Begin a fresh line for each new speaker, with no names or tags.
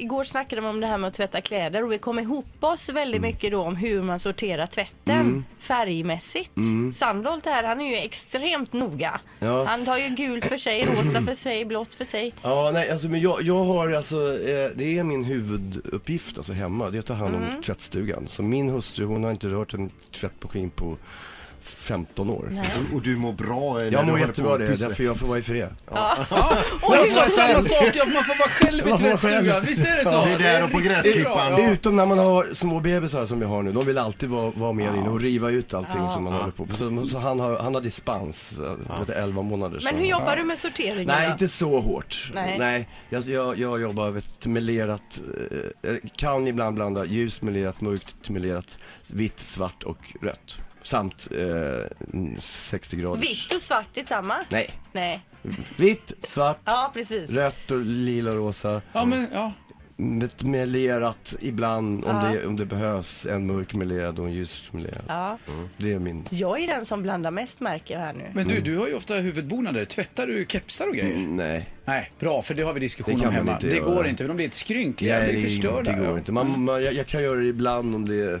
igår snackade vi om det här med att tvätta kläder och vi kom ihop oss
Mm.
väldigt mycket då om hur man sorterar tvätten färgmässigt. Sandholt här, han är ju extremt noga.
Mm. Ja.
Han tar ju gult för sig, rosa för sig, blått för sig.
Ja, nej, alltså, men jag, jag har alltså, eh, det är min huvuduppgift alltså hemma, det är att ta hand om
Mm.
tvättstugan. Så min hustru, hon har inte rört en tvättmaskin på 15 år.
Nej.
Och- Och du mår bra eh, när
Jag
du
mår
håller på
jättebra
och
det,
pysslar.
därför jag får vara i fred.
Oj,
Jag
alltså,
sa
vad-
samma sak, att man får vara själv i
Man får vara
tvättstugan.
själv.
Visst är det så?
Ja,
det är där och på
riktigt
gräsklippan.
bra, ja.
Utom när man har små bebisar som jag har nu, de vill alltid vara, vara med inne och riva ut allting som man håller på med. Så, så han, har, han har dispens, ja. 11 månader.
Men
så-
hur jobbar
Ja.
du med sorteringen
Nej,
då?
inte så hårt.
Nej.
Jag, jag, jag jobbar med ett melerat, eh, kan ibland blanda ljus melerat, mörkt melerat, vitt, svart och rött. Samt eh, 60 graders.
Vitt och svart är samma?
Nej.
Nej.
Vitt, svart,
Ja, precis.
rött och lila och rosa.
Ja, men ja.
Med- Melerat ibland om,
Ja.
det, om det behövs. En mörk melerad och en ljus melerad. Mm.
Ja.
Det är min.
Jag är den som blandar mest märker jag här nu.
Men du, du har ju ofta huvudbonader. Tvättar du kepsar och grejer?
Mm, Nej,
Nej, bra, för det har vi
Det
diskussion
kan
om hemma.
man inte
det
göra.
går inte, för de blir ett skrynkliga,
Nej,
de blir förstörda.
det går
ja.
inte. Man, man, jag, jag kan göra det ibland om det är,